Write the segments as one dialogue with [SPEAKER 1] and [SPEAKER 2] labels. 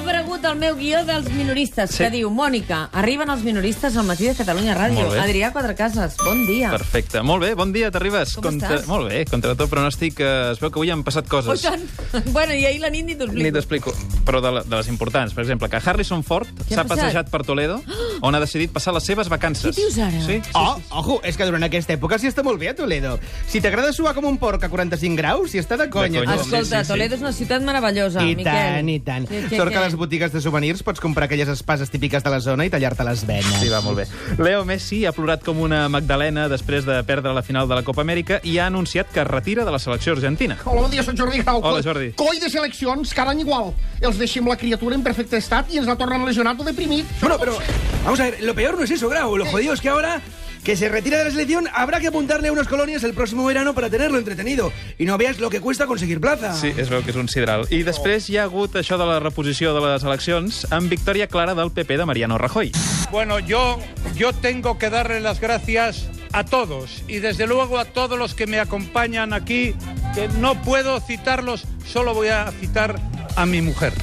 [SPEAKER 1] aparegut el meu guió dels minoristes, sí. que diu, Mònica, arriben els minoristes al matí de Catalunya Ràdio.
[SPEAKER 2] Molt bé.
[SPEAKER 1] Adrià Quatrecases, bon dia.
[SPEAKER 2] Perfecte. Molt bé, bon dia, t'arribes.
[SPEAKER 1] Ah. Com estàs?
[SPEAKER 2] Molt bé, contra tot pronòstic, eh, es veu que avui han passat
[SPEAKER 1] Oh,
[SPEAKER 2] coses.
[SPEAKER 1] tant. Bueno, i ahir la nit ni t'ho
[SPEAKER 2] Ni
[SPEAKER 1] explico.
[SPEAKER 2] t'explico, però de, la, de les importants. Per exemple, que Harrison Ford
[SPEAKER 1] Què ha
[SPEAKER 2] s'ha
[SPEAKER 1] passat?
[SPEAKER 2] passejat per Toledo, on ha decidit passar les seves vacances.
[SPEAKER 1] Què dius ara?
[SPEAKER 2] Sí,
[SPEAKER 3] Oh, ojo, és que durant aquesta època sí està molt bé a Toledo. Si t'agrada suar com un porc a 45 graus, si està de conya.
[SPEAKER 2] De conya.
[SPEAKER 3] tu.
[SPEAKER 1] Escolta,
[SPEAKER 2] Sí, sí, sí.
[SPEAKER 1] Toledo és una ciutat meravellosa,
[SPEAKER 3] I
[SPEAKER 1] Miquel.
[SPEAKER 3] tant, i tant.
[SPEAKER 1] Què, què,
[SPEAKER 3] Sort que
[SPEAKER 1] què?
[SPEAKER 3] a les botigues de souvenirs pots comprar aquelles espases típiques de la zona i tallar-te les venes.
[SPEAKER 2] Sí, va, molt bé. Leo Messi ha plorat com una magdalena després de perdre la final de la Copa Amèrica i ha anunciat que es retira de la selecció argentina.
[SPEAKER 4] Hola, bon dia, soc Jordi Grau.
[SPEAKER 2] Hola, Jordi.
[SPEAKER 4] Coi de seleccions, cada any igual. Els deixem la criatura en perfecte estat i ens la tornen lesionat o deprimit.
[SPEAKER 5] Bueno, pero vamos a ver, lo peor no es eso, Grau. Lo jodido es que ahora que se retira de la selección habrá que apuntarle a unos colonias el próximo verano para tenerlo entretenido. Y no veas lo que cuesta conseguir
[SPEAKER 1] Ah.
[SPEAKER 5] plaza.
[SPEAKER 2] Sí, es veu que és un sidral. I després hi ha hagut això de la reposició de les eleccions amb victòria clara del PP de Mariano Rajoy.
[SPEAKER 6] Bueno, yo, yo tengo que darle las gracias a todos y desde luego a todos los que me acompañan aquí, que no puedo citarlos, solo voy a citar a mi mujer.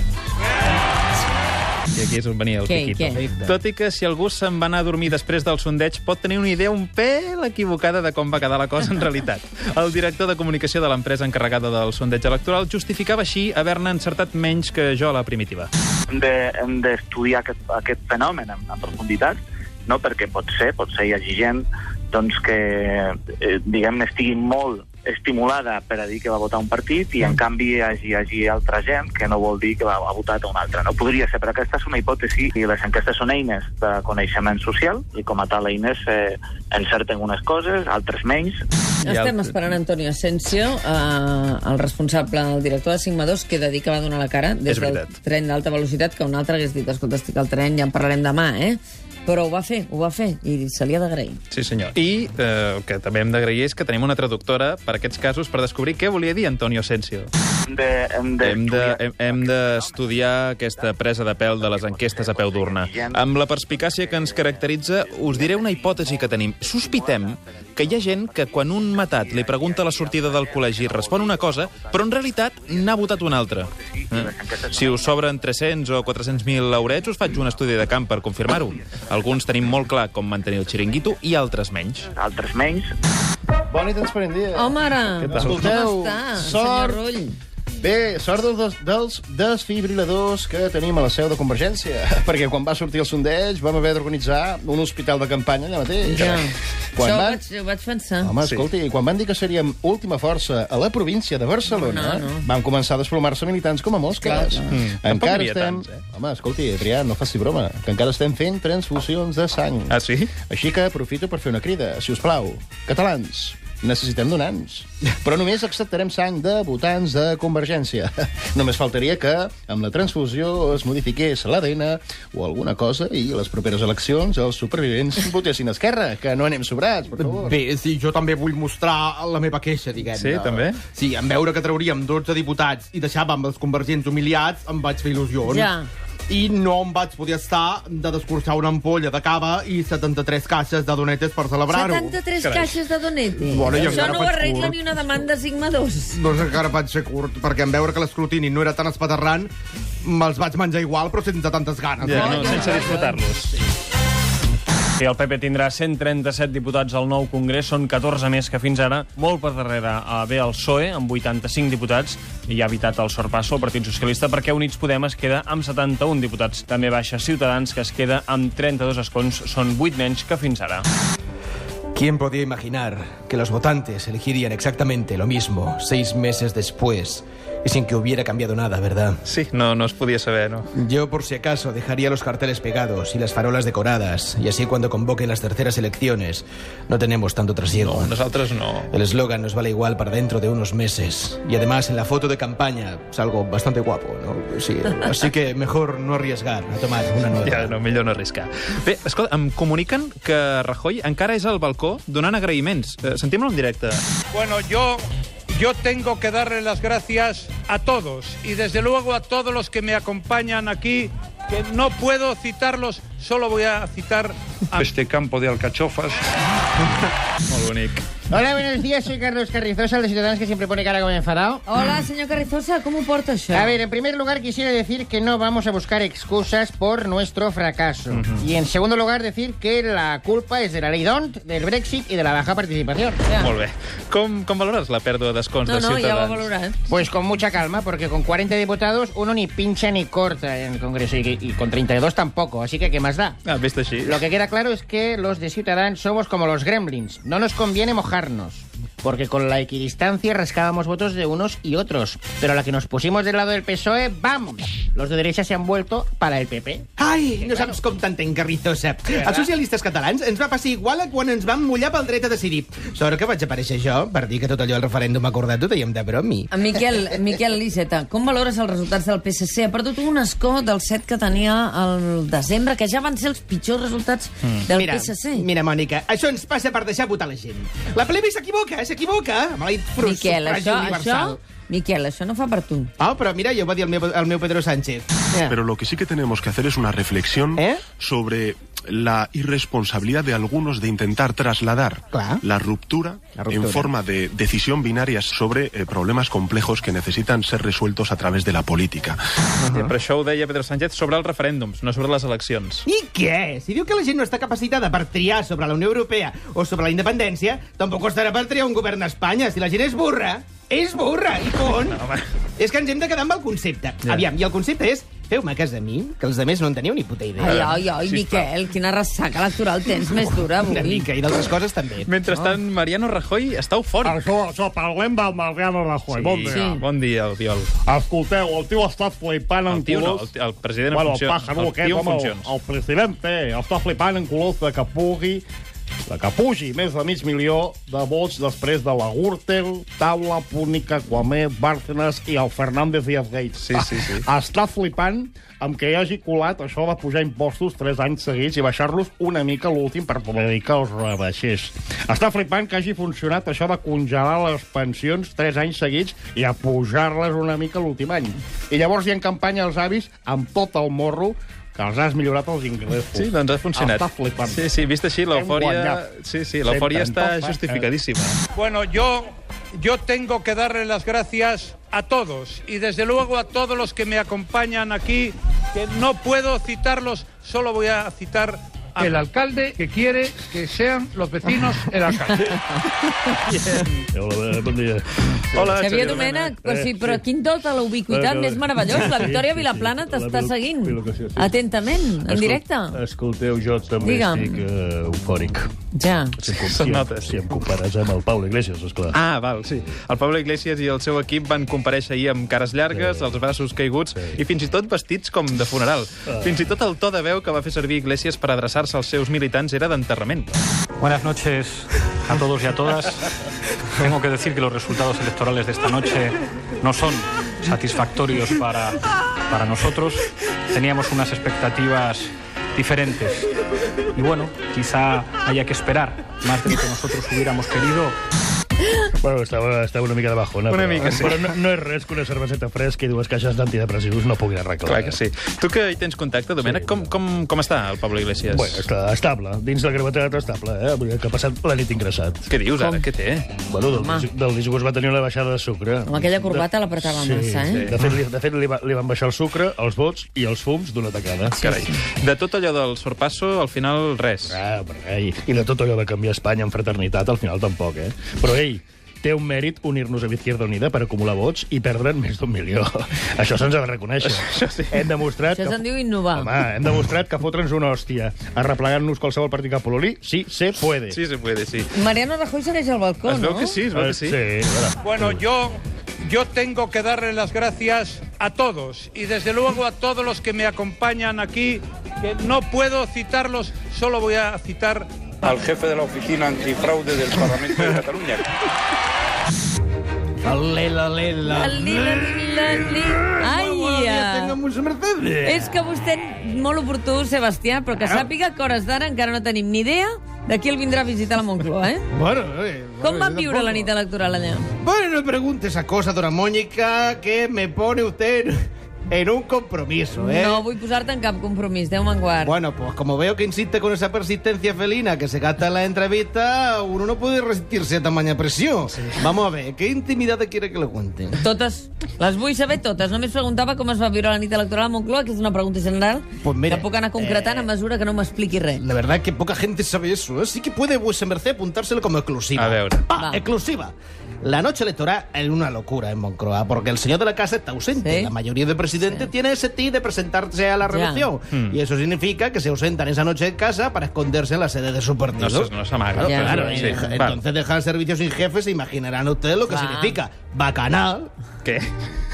[SPEAKER 2] I aquí és on venia el
[SPEAKER 1] Què,
[SPEAKER 2] Quiquito.
[SPEAKER 1] què?
[SPEAKER 2] Tot i que si algú se'n va anar a dormir després del sondeig pot tenir una idea un pèl equivocada de com va quedar la cosa en realitat. El director de comunicació de l'empresa encarregada del sondeig electoral justificava així haver-ne encertat menys que jo a la primitiva.
[SPEAKER 7] hem de- hem d'estudiar de, aquest, aquest fenomen en, en profunditat, no? perquè pot ser, pot ser hi hagi gent doncs, que eh, diguem estigui molt estimulada per a dir que va votar un partit i en canvi hi hagi, hi hagi altra gent que no vol dir que va, ha votat un altre. No podria ser, però aquesta és una hipòtesi i les enquestes són eines de coneixement social i com a tal eines eh, encerten unes coses, altres menys,
[SPEAKER 1] Estem esperant Antonio Asensio, eh, el responsable, el director de Sigma 2, que he de dir que va donar la cara des
[SPEAKER 2] És
[SPEAKER 1] del
[SPEAKER 2] veritat.
[SPEAKER 1] tren d'alta velocitat, que un altre hagués dit, escolta, estic al tren, ja en parlarem demà, eh? Però ho va fer, ho va fer, i se li ha d'agrair.
[SPEAKER 2] Sí, senyor. I eh, el que també hem d'agrair és que tenim una traductora per aquests casos per descobrir què volia dir Antonio Asensio.
[SPEAKER 7] hem de... Hem
[SPEAKER 2] Hem de-
[SPEAKER 7] d'estudiar-
[SPEAKER 2] hem- hem d'estudiar aquesta presa de pèl de les enquestes a peu d'urna. Amb la perspicàcia que ens caracteritza, us diré una hipòtesi que tenim. Sospitem que hi ha gent que quan un matat li pregunta la sortida del col·legi respon una cosa, però en realitat n'ha votat una altra. Eh? Si us sobren 300 o 400.000 laurets, us faig un estudi de camp per confirmar-ho. Alguns tenim molt clar com mantenir el xiringuito i altres menys.
[SPEAKER 7] altres menys.
[SPEAKER 8] Bon i transparent dia.
[SPEAKER 1] Home, ara,
[SPEAKER 8] Què tal?
[SPEAKER 1] com
[SPEAKER 8] Escolteu,
[SPEAKER 1] està, senyor
[SPEAKER 8] sort.
[SPEAKER 1] Rull?
[SPEAKER 8] Bé, sort dels, dels, dels desfibriladors que tenim a la seu de Convergència, perquè quan va sortir el sondeig vam haver d'organitzar un hospital de campanya allà mateix.
[SPEAKER 1] Ja.
[SPEAKER 8] Quan
[SPEAKER 1] Això ho
[SPEAKER 8] van...
[SPEAKER 1] vaig, ho vaig pensar.
[SPEAKER 8] Home, escolti, quan van dir que seríem última força a la província de Barcelona,
[SPEAKER 1] No, no.
[SPEAKER 8] van començar a desplomar-se militants com a mosques.
[SPEAKER 1] Clar.
[SPEAKER 8] Mm.
[SPEAKER 2] Tampoc
[SPEAKER 8] Encara
[SPEAKER 2] n'hi havia
[SPEAKER 8] estem...
[SPEAKER 2] tants, eh?
[SPEAKER 8] Home, escolti, Adrià, no faci broma, que encara estem fent transfusions de sang.
[SPEAKER 2] Ah, sí?
[SPEAKER 8] Així que aprofito per fer una crida, si us plau. Catalans, necessitem donants. Però només acceptarem sang de votants de Convergència. Només faltaria que amb la transfusió es modifiqués l'ADN o alguna cosa i a les properes eleccions els supervivents votessin Esquerra, que no anem sobrats, per favor.
[SPEAKER 3] Bé, sí, jo també vull mostrar la meva queixa, diguem-ne.
[SPEAKER 2] Sí, també?
[SPEAKER 3] Sí, en veure que trauríem 12 diputats i deixàvem els convergents humiliats, em vaig fer il·lusions.
[SPEAKER 1] Ja.
[SPEAKER 3] I no em vaig poder estar de descorxar una ampolla de cava i 73 caixes de donetes per celebrar-ho.
[SPEAKER 1] 73
[SPEAKER 2] Carai.
[SPEAKER 1] caixes de donete.
[SPEAKER 3] Bueno, i
[SPEAKER 1] Això
[SPEAKER 3] encara
[SPEAKER 1] no ho
[SPEAKER 3] faig
[SPEAKER 1] arregla
[SPEAKER 3] curt.
[SPEAKER 1] ni una demanda Sigma 2.
[SPEAKER 3] Doncs encara vaig ser curt, perquè en veure que l'escrutini no era tan espaterrant, me'ls vaig menjar igual, però sense tantes ganes. eh?
[SPEAKER 2] Ja,
[SPEAKER 1] Ai,
[SPEAKER 2] no,
[SPEAKER 1] que
[SPEAKER 2] sense
[SPEAKER 1] maco.
[SPEAKER 2] disfrutar-los.
[SPEAKER 9] Sí, el PP tindrà 137 diputats al nou Congrés, són 14 més que fins ara, molt per darrere eh, ve el PSOE, amb 85 diputats, i ha evitat el sorpasso el Partit Socialista, perquè Units Podem es queda amb 71 diputats. També baixa Ciutadans, que es queda amb 32 escons, són 8 menys que fins ara.
[SPEAKER 5] ¿Quién podía imaginar que los votantes elegirían exactamente lo mismo seis meses después y sin que hubiera cambiado nada, verdad?
[SPEAKER 2] Sí, no, no es podia saber, no.
[SPEAKER 5] Yo, por si acaso, dejaría los carteles pegados y las farolas decoradas, y así cuando convoquen las terceras elecciones no tenemos tanto trasiego.
[SPEAKER 2] Nosaltres no.
[SPEAKER 5] El eslogan nos vale igual para dentro de unos meses. Y además, en la foto de campaña salgo bastante guapo, ¿no? Sí, así que mejor no arriesgar a tomar una nueva.
[SPEAKER 2] Ja, no, millor no arriscar. Bé, escolta, em comuniquen que Rajoy encara és al balcó donant agraïments. Eh, Sentim-lo en directe.
[SPEAKER 6] Bueno, yo, yo tengo que darle las gracias a todos y desde luego a todos los que me acompañan aquí, que no puedo citarlos, solo voy a citar a este campo de alcachofas.
[SPEAKER 2] Molt bonic.
[SPEAKER 10] Hola, buenos días. Soy Carlos Carrizosa, el de Ciudadanos que siempre pone cara como enfadado.
[SPEAKER 1] Hola, señor Carrizosa, ¿cómo porta això?
[SPEAKER 10] A ver, en primer lugar quisiera decir que no vamos a buscar excusas por nuestro fracaso. Y en segundo lugar decir que la culpa es de la ley DONT, del Brexit y de la baja participación.
[SPEAKER 2] Molt bé. Com, com valores la pèrdua d'escons
[SPEAKER 1] No,
[SPEAKER 2] de
[SPEAKER 1] no, ja ho ha
[SPEAKER 2] Ciutadans?
[SPEAKER 1] valorat.
[SPEAKER 10] Pues con mucha calma, porque con 40 diputados uno ni pincha ni corta en el Congreso y, y con 32 tampoco, así que ¿qué más da?
[SPEAKER 2] Ah, vés així.
[SPEAKER 10] Lo que queda claro es que los de Ciudadanos somos como los gremlins. No nos conviene mojarnos. Porque con la equidistancia rascábamos votos de unos y otros. Pero a la que nos pusimos del lado del PSOE, ¡bam! E, Los de derecha se han vuelto para el PP.
[SPEAKER 3] Ai, no saps com t'entenc, Carrizosa. Els socialistes catalans ens va passar igual a quan ens vam mullar pel dret a decidir. Sort que vaig aparèixer jo per dir que tot allò al referèndum acordat ho dèiem de bromi.
[SPEAKER 1] En Miquel, Miquel Iceta, com valores els resultats del PSC? Ha perdut un escó del set que tenia el desembre, que ja van ser els pitjors resultats del
[SPEAKER 3] Mira,
[SPEAKER 1] PSC.
[SPEAKER 3] mira, Mònica, això ens passa per deixar votar la gent. La plebe s'equivoca, eh? s'equivoca. Amb la
[SPEAKER 1] Miquel, això, això, Miquel, això no fa per tu.
[SPEAKER 3] Ah, però mira, ja ho va dir el meu, el meu Pedro Sánchez.
[SPEAKER 11] Pero lo que sí que tenemos que hacer es una reflexión
[SPEAKER 3] ¿Eh?
[SPEAKER 11] sobre la irresponsabilidad de algunos de intentar trasladar
[SPEAKER 3] Claro.
[SPEAKER 11] la, ruptura
[SPEAKER 3] La ruptura.
[SPEAKER 11] en forma de decisión binaria sobre eh, problemas complejos que necesitan ser resueltos a través de la política.
[SPEAKER 2] Eh, Però això ho deia Pedro Sánchez sobre els referèndums, no sobre les eleccions.
[SPEAKER 3] I què? Si diu que la gent no està capacitada per triar sobre la Unió Europea o sobre la independència, tampoc estarà per triar un govern a Espanya. Si la gent és burra, és burra, i con! No, és que ens hem de quedar amb el concepte.
[SPEAKER 2] Ja.
[SPEAKER 3] Aviam, i el concepte és feu-me cas a mi, que els altres no en teniu ni puta idea.
[SPEAKER 1] Ai, ai, ai, Miquel, quina ressaca electoral tens més dura
[SPEAKER 3] Una
[SPEAKER 1] avui.
[SPEAKER 3] mica, i d'altres coses també.
[SPEAKER 2] Mentrestant,
[SPEAKER 1] Ah.
[SPEAKER 2] Mariano Rajoy està eufòric.
[SPEAKER 12] Això, això, parlem del Mariano Rajoy. Sí. Bon dia.
[SPEAKER 1] Ah, Sí.
[SPEAKER 2] Bon dia, Albiol.
[SPEAKER 12] Escolteu, el tio està flipant en
[SPEAKER 2] El tio no,
[SPEAKER 12] colors.
[SPEAKER 2] el- el president en
[SPEAKER 12] bueno,
[SPEAKER 2] funcions.
[SPEAKER 12] El pájaro
[SPEAKER 2] El
[SPEAKER 12] aquest,
[SPEAKER 2] tio en
[SPEAKER 12] home, el,
[SPEAKER 2] funcions.
[SPEAKER 12] el president està flipant en colors de que pugui de que pugi més de mig milió de vots després de la Gürtel, Taula, Púnica, Guamé, Bárcenas i el Fernández Díaz Gates.
[SPEAKER 2] Sí, sí, sí.
[SPEAKER 12] Ah, Està flipant amb que hi hagi colat això de pujar impostos 3 anys seguits i baixar-los una mica l'últim per poder dir que els rebaixés. Està flipant que hagi funcionat això de congelar les pensions 3 anys seguits i a pujar-les una mica l'últim any. I llavors hi ha en campanya els avis amb tot el morro que els has millorat els ingressos.
[SPEAKER 2] Sí, doncs ha funcionat.
[SPEAKER 12] Està flipant.
[SPEAKER 2] Sí, sí, vist així,
[SPEAKER 12] Hem
[SPEAKER 2] l'eufòria...
[SPEAKER 12] guanyat.
[SPEAKER 2] Sí, sí, l'eufòria
[SPEAKER 12] Cent
[SPEAKER 2] està
[SPEAKER 12] tantos, eh?
[SPEAKER 2] justificadíssima.
[SPEAKER 6] Bueno, yo, yo tengo que darle las gracias a todos y desde luego a todos los que me acompañan aquí, que no puedo citarlos, solo voy a citar a... El alcalde que quiere que sean los vecinos el alcalde.
[SPEAKER 12] Hola, bon dia. Ah,
[SPEAKER 2] Hola,
[SPEAKER 1] Xavier Domènech, però, sí, però quin dot a la ubiquitat
[SPEAKER 12] Eh,
[SPEAKER 1] més
[SPEAKER 12] eh,
[SPEAKER 1] meravellós. La
[SPEAKER 12] sí,
[SPEAKER 1] Victòria
[SPEAKER 12] sí,
[SPEAKER 1] Vilaplana
[SPEAKER 12] sí,
[SPEAKER 1] t'està
[SPEAKER 12] la
[SPEAKER 1] seguint
[SPEAKER 12] bilocació, sí.
[SPEAKER 1] atentament, en directe.
[SPEAKER 12] Escolteu, jo també
[SPEAKER 1] Digue'm.
[SPEAKER 12] estic eh, eufòric.
[SPEAKER 1] Ja.
[SPEAKER 12] Si, em-
[SPEAKER 2] Se'n nota, sí.
[SPEAKER 12] si em compares amb el Pau Iglesias, esclar.
[SPEAKER 2] Ah, val, sí. El Pablo Iglesias i el seu equip van compareixer ahir amb cares llargues, els braços caiguts i fins i tot vestits com de funeral.
[SPEAKER 12] Ah.
[SPEAKER 2] Fins i tot el to de veu que va fer servir Iglesias per adreçar-se als seus militants era d'enterrament.
[SPEAKER 12] Buenas noches a todos y a todas. Tengo que decir que los resultados electorales de esta noche no son satisfactorios para, para nosotros. Teníamos unas expectativas diferentes. Y bueno, quizá haya que esperar más de lo que nosotros hubiéramos querido. Bueno, estava, estava una mica de bajona,
[SPEAKER 2] Una
[SPEAKER 12] però,
[SPEAKER 2] mica, sí.
[SPEAKER 12] però no, no és res que una cerveseta fresca i dues caixes d'antidepressius no puguin arreglar. eh?
[SPEAKER 2] Clar que sí. Tu que hi tens contacte, Domènec, com, com, com està el Pablo Iglesias?
[SPEAKER 12] Bueno, està estable, dins la gravetat estable, eh? Vull dir que ha passat la nit ingressat.
[SPEAKER 2] Què dius ara? Què té?
[SPEAKER 12] Bueno, del,
[SPEAKER 1] Home.
[SPEAKER 12] dis- del disgust va tenir una baixada de sucre.
[SPEAKER 1] Amb aquella corbata l'apretava
[SPEAKER 12] sí,
[SPEAKER 1] massa, eh?
[SPEAKER 12] Sí. De fet, li, de fet li, va, li van baixar el sucre, els vots i els fums d'una tacada.
[SPEAKER 2] Carai. De tot allò del sorpasso, al final, res.
[SPEAKER 12] Ah, però, ei, I de tot allò de canviar Espanya en fraternitat, al final tampoc, eh? Però, ei, té un mèrit unir-nos a Izquierda Unida per acumular vots i perdre'n més d'un milió. Això se'ns ha de reconèixer. Això sí. Hem demostrat...
[SPEAKER 1] Això
[SPEAKER 12] que-
[SPEAKER 1] se'n diu innovar.
[SPEAKER 12] Home, hem demostrat que fotre'ns una hòstia arreplegant-nos qualsevol partit cap a l'oli, sí, se puede.
[SPEAKER 2] Sí, se puede, sí.
[SPEAKER 1] Mariano Rajoy segueix al balcó,
[SPEAKER 2] Es
[SPEAKER 1] no?
[SPEAKER 2] veu que sí, es veu que
[SPEAKER 12] Eh,
[SPEAKER 2] sí.
[SPEAKER 12] sí ara.
[SPEAKER 6] Bueno, yo, yo tengo que darle las gracias a todos y desde luego a todos los que me acompañan aquí, que no puedo citarlos, solo voy a citar
[SPEAKER 7] Al jefe de la oficina antifraude del Parlamento de Cataluña.
[SPEAKER 3] Lela, lela.
[SPEAKER 1] El li, la, li, la, li. Ai,
[SPEAKER 3] Tengo
[SPEAKER 1] ja.
[SPEAKER 3] mucho Mercedes.
[SPEAKER 1] És que vostè, molt oportú, Sebastià, però que sàpiga que a hores d'ara encara no tenim ni idea de qui el vindrà a visitar a la Moncloa, eh?
[SPEAKER 3] Bueno, eh,
[SPEAKER 1] Com
[SPEAKER 3] bueno,
[SPEAKER 1] van
[SPEAKER 3] yo
[SPEAKER 1] viure la
[SPEAKER 3] tampoco.
[SPEAKER 1] nit electoral allà?
[SPEAKER 3] Bueno, no pregunte esa cosa, Dora Mónica, que me pone usted en un compromiso, ¿eh?
[SPEAKER 1] No vull posar-te en cap compromís, Déu me'n guard.
[SPEAKER 3] Bueno, pues como veo que insiste con esa persistencia felina que se gasta en la entrevista, uno no puede resistirse a tamaña presión. Vamos a ver, ¿qué intimidad quiere que le cuente?
[SPEAKER 1] Totes. Les vull saber totes. Només preguntava com es va viure la nit electoral a Moncloa, que és una pregunta general
[SPEAKER 3] Pues mira,
[SPEAKER 1] que puc anar concretant a
[SPEAKER 2] eh,
[SPEAKER 1] mesura que no m'expliqui res.
[SPEAKER 3] La verdad que poca gente sabe eso, así que puede vuesa merced apuntárselo como exclusiva.
[SPEAKER 2] A veure.
[SPEAKER 3] Pa, Ah, exclusiva. La noche electoral es una locura en Moncloa, porque el señor de la casa está ausente. La mayoría de presidentes tiene ese ti de presentarse a la
[SPEAKER 2] Ya.
[SPEAKER 3] reelección.
[SPEAKER 2] Mm.
[SPEAKER 3] Y eso significa que se ausentan esa noche en casa para esconderse en la sede de su partido.
[SPEAKER 2] No se- no se amaga,
[SPEAKER 3] Claro,
[SPEAKER 2] pero
[SPEAKER 3] claro,
[SPEAKER 2] sí,
[SPEAKER 3] eh,
[SPEAKER 2] sí.
[SPEAKER 3] Entonces dejar servicios sin jefe, se imaginarán ustedes lo que
[SPEAKER 2] Va.
[SPEAKER 3] significa. Bacanal.
[SPEAKER 2] Què?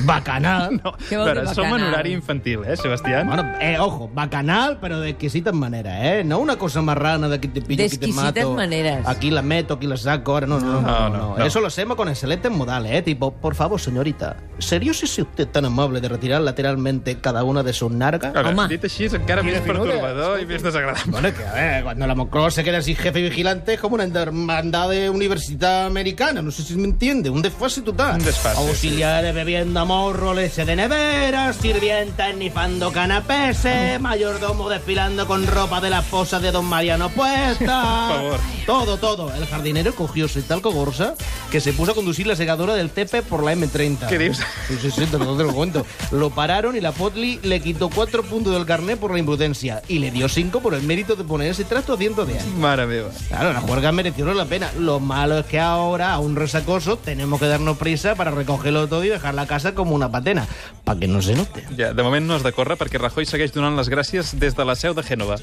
[SPEAKER 3] Bacanal.
[SPEAKER 2] No, però som en horari infantil, eh, Sebastián?
[SPEAKER 3] Bueno, eh, ojo, bacanal, pero de exquisitas maneras, ¿eh? No una cosa marrana de que te pillo,
[SPEAKER 1] De
[SPEAKER 3] que te
[SPEAKER 1] exquisitas
[SPEAKER 3] mato.
[SPEAKER 1] maneras.
[SPEAKER 3] Aquí la meto, aquí la saco, ahora no, no, no. no,
[SPEAKER 2] No,
[SPEAKER 3] no,
[SPEAKER 2] no,
[SPEAKER 3] no.
[SPEAKER 2] no.
[SPEAKER 3] Eso lo hacemos con excelentes modales, ¿eh? Tipo, por favor, señorita, ¿sería si usted tan amable de retirar lateralmente cada una de sus nargas?
[SPEAKER 2] Ara, dit així és encara més perturbador i més desagradable.
[SPEAKER 3] Bueno, que a ver, cuando la Moncloa se queda sin jefe y vigilante es como una hermandad de universidad americana, no sé si me entiende, un desfase total.
[SPEAKER 2] Un desfase,
[SPEAKER 3] Auxiliares bebiendo morro, leche de neveras, sirvientas nifando canapeses, mayordomo desfilando con ropa de la esposa de don Mariano puesta.
[SPEAKER 2] Por favor.
[SPEAKER 3] Todo, todo. El jardinero cogió su talco gorsa que se puso a conducir la segadora del Tepe por la M30.
[SPEAKER 2] Què dius?
[SPEAKER 3] Sí, sí, sí, te lo, te lo cuento. Lo pararon y la Potli le quitó cuatro puntos del carnet por la imprudencia y le dio cinco por el mérito de poner ese trasto a 110.
[SPEAKER 2] Mare meva.
[SPEAKER 3] Claro, la juerga mereció la pena. Lo malo es que ahora, aún resacoso, tenemos que darnos prisa para recogerlo todo y dejar la casa como una patena. Para que no se note.
[SPEAKER 2] Ja, de moment no has de córrer perquè Rajoy segueix donant les gràcies des de la seu de Gènova.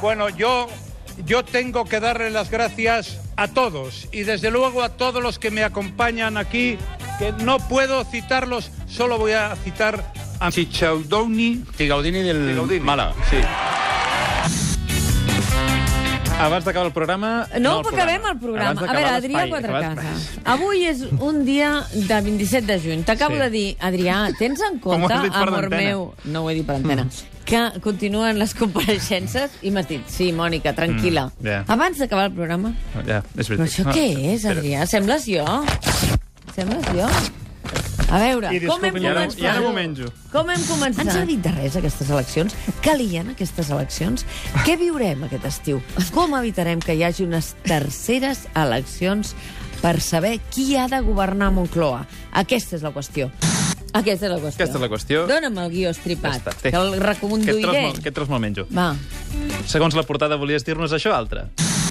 [SPEAKER 6] Bueno, yo, yo tengo que darle las gracias a todos y desde luego a todos los que me acompañan aquí, que no puedo citarlos, solo voy a citar a Chichaudoni. Chigaudini del Mala, sí.
[SPEAKER 2] Abans d'acabar el programa...
[SPEAKER 1] No,
[SPEAKER 2] el
[SPEAKER 1] no acabem el
[SPEAKER 2] Abans
[SPEAKER 1] programa. A
[SPEAKER 2] d'acabar
[SPEAKER 1] veure,
[SPEAKER 2] l'espai,
[SPEAKER 1] Adrià
[SPEAKER 2] acabar
[SPEAKER 1] Quatrecasa. Avui és un dia de 27 de juny. T'acabo
[SPEAKER 2] Sí.
[SPEAKER 1] sí. de dir, Adrià, tens en
[SPEAKER 2] Com ho
[SPEAKER 1] compte,
[SPEAKER 2] has dit per
[SPEAKER 1] amor
[SPEAKER 2] l'antena. Mm.
[SPEAKER 1] meu... No ho he dit per antena. Que continuen les compareixences i m'ha dit, sí, Mònica, tranquil·la.
[SPEAKER 2] Mm, ja.
[SPEAKER 1] Abans d'acabar el programa...
[SPEAKER 2] Ja, és veritat.
[SPEAKER 1] Però això què és, Adrià? Sembles jo? Sembles jo? A veure,
[SPEAKER 2] I
[SPEAKER 1] com hem
[SPEAKER 2] disculpin, i ara-
[SPEAKER 1] començat?
[SPEAKER 2] i ara m'ho menjo.
[SPEAKER 1] Com hem començat? Han servit de res aquestes eleccions? Calien aquestes eleccions? Què viurem aquest estiu? Com evitarem que hi hagi unes terceres eleccions per saber qui ha de governar Moncloa? Aquesta és la qüestió. Aquesta és la qüestió.
[SPEAKER 2] Aquesta és la qüestió.
[SPEAKER 1] Dona'm el guió estripat,
[SPEAKER 2] Ja està, té.
[SPEAKER 1] que el
[SPEAKER 2] Aquest tros
[SPEAKER 1] reconduiré.
[SPEAKER 2] me'l- Aquest tros me'l menjo.
[SPEAKER 1] Va.
[SPEAKER 2] Segons la portada, volies dir-nos això altre.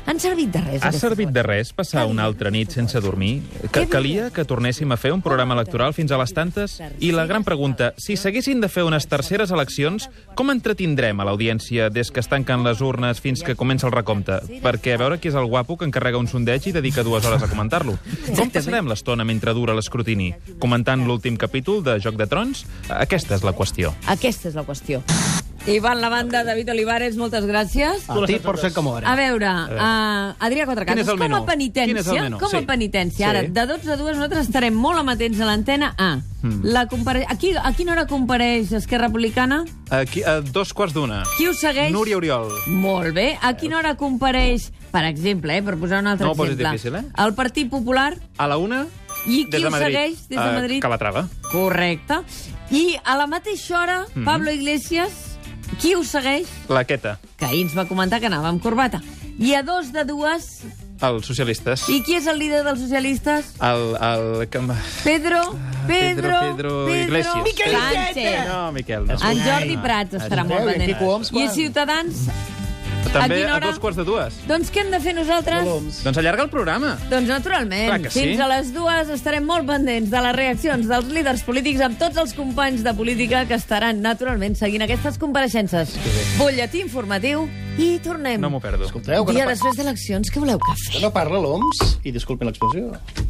[SPEAKER 1] Han servit de res
[SPEAKER 2] Ha
[SPEAKER 1] aquestes
[SPEAKER 2] servit de res passar una altra nit sense dormir? Que calia que tornéssim a fer un programa electoral fins a les tantes? I la gran pregunta, si s'haguessin de fer unes terceres eleccions, com entretindrem a l'audiència des que es tanquen les urnes fins que comença el recompte? Perquè a veure qui és el guapo que encarrega un sondeig i dedica dues hores a comentar-lo. Com passarem l'estona mentre dura l'escrutini? Comentant l'últim capítol de Joc de Trons? Aquesta és la qüestió.
[SPEAKER 1] Aquesta és la qüestió. Ivan la banda, David Olivares, moltes gràcies.
[SPEAKER 3] A ti por ser como eres.
[SPEAKER 1] A veure,
[SPEAKER 3] Ah. veure.
[SPEAKER 1] uh, Adrià
[SPEAKER 3] Quin
[SPEAKER 1] Quatrecases,
[SPEAKER 3] és el
[SPEAKER 1] com a
[SPEAKER 3] menú? Quin és el
[SPEAKER 1] penitència,
[SPEAKER 3] menú?
[SPEAKER 1] com a
[SPEAKER 3] Sí.
[SPEAKER 1] penitència,
[SPEAKER 3] Sí.
[SPEAKER 1] ara, de 12 a 2 nosaltres estarem molt amatents a l'antena A.
[SPEAKER 3] Hmm.
[SPEAKER 2] Mm.
[SPEAKER 1] La compare... a, qui, a quina hora compareix Esquerra Republicana?
[SPEAKER 2] Aquí, a dos quarts d'una.
[SPEAKER 1] Qui ho segueix?
[SPEAKER 2] Núria Oriol.
[SPEAKER 1] Molt bé. A quina hora compareix, per exemple, eh, per posar un altre
[SPEAKER 2] No ho posis
[SPEAKER 1] exemple,
[SPEAKER 2] difícil, eh?
[SPEAKER 1] el Partit Popular?
[SPEAKER 2] A la una,
[SPEAKER 1] I qui
[SPEAKER 2] des de
[SPEAKER 1] ho
[SPEAKER 2] Madrid. Ah,
[SPEAKER 1] segueix des de
[SPEAKER 3] Eh,
[SPEAKER 2] a
[SPEAKER 1] Madrid?
[SPEAKER 2] Calatrava.
[SPEAKER 1] Correcte. I a la mateixa hora,
[SPEAKER 3] Mhm.
[SPEAKER 2] Mm.
[SPEAKER 1] Pablo Iglesias, qui ho segueix?
[SPEAKER 2] La Queta.
[SPEAKER 1] Que ahir ens va comentar que anava amb corbata. I a dos de dues,
[SPEAKER 2] Els socialistes.
[SPEAKER 1] i qui és el líder dels socialistes?
[SPEAKER 2] El, el... Pedro,
[SPEAKER 1] Pedro, Pedro,
[SPEAKER 2] Ah, Pedro, Pedro, Iglesias.
[SPEAKER 1] Miquel Sánchez.
[SPEAKER 2] No, Miquel, no.
[SPEAKER 1] En Jordi Prats estarà molt pendent. I a Ciutadans, a
[SPEAKER 2] També
[SPEAKER 1] quina
[SPEAKER 2] a,
[SPEAKER 1] hora?
[SPEAKER 2] dos quarts de dues.
[SPEAKER 1] doncs què hem de fer nosaltres?
[SPEAKER 2] Doncs allarga el programa.
[SPEAKER 1] Doncs naturalment,
[SPEAKER 2] Clar que sí.
[SPEAKER 1] fins a les dues estarem molt pendents de les reaccions dels líders polítics amb tots els companys de política que estaran naturalment seguint aquestes compareixences. Bolletí informatiu i tornem.
[SPEAKER 2] No m'ho perdo.
[SPEAKER 1] Dia després d'eleccions, què voleu que fem?
[SPEAKER 8] No parla l'OMS, i disculpin l'expressió.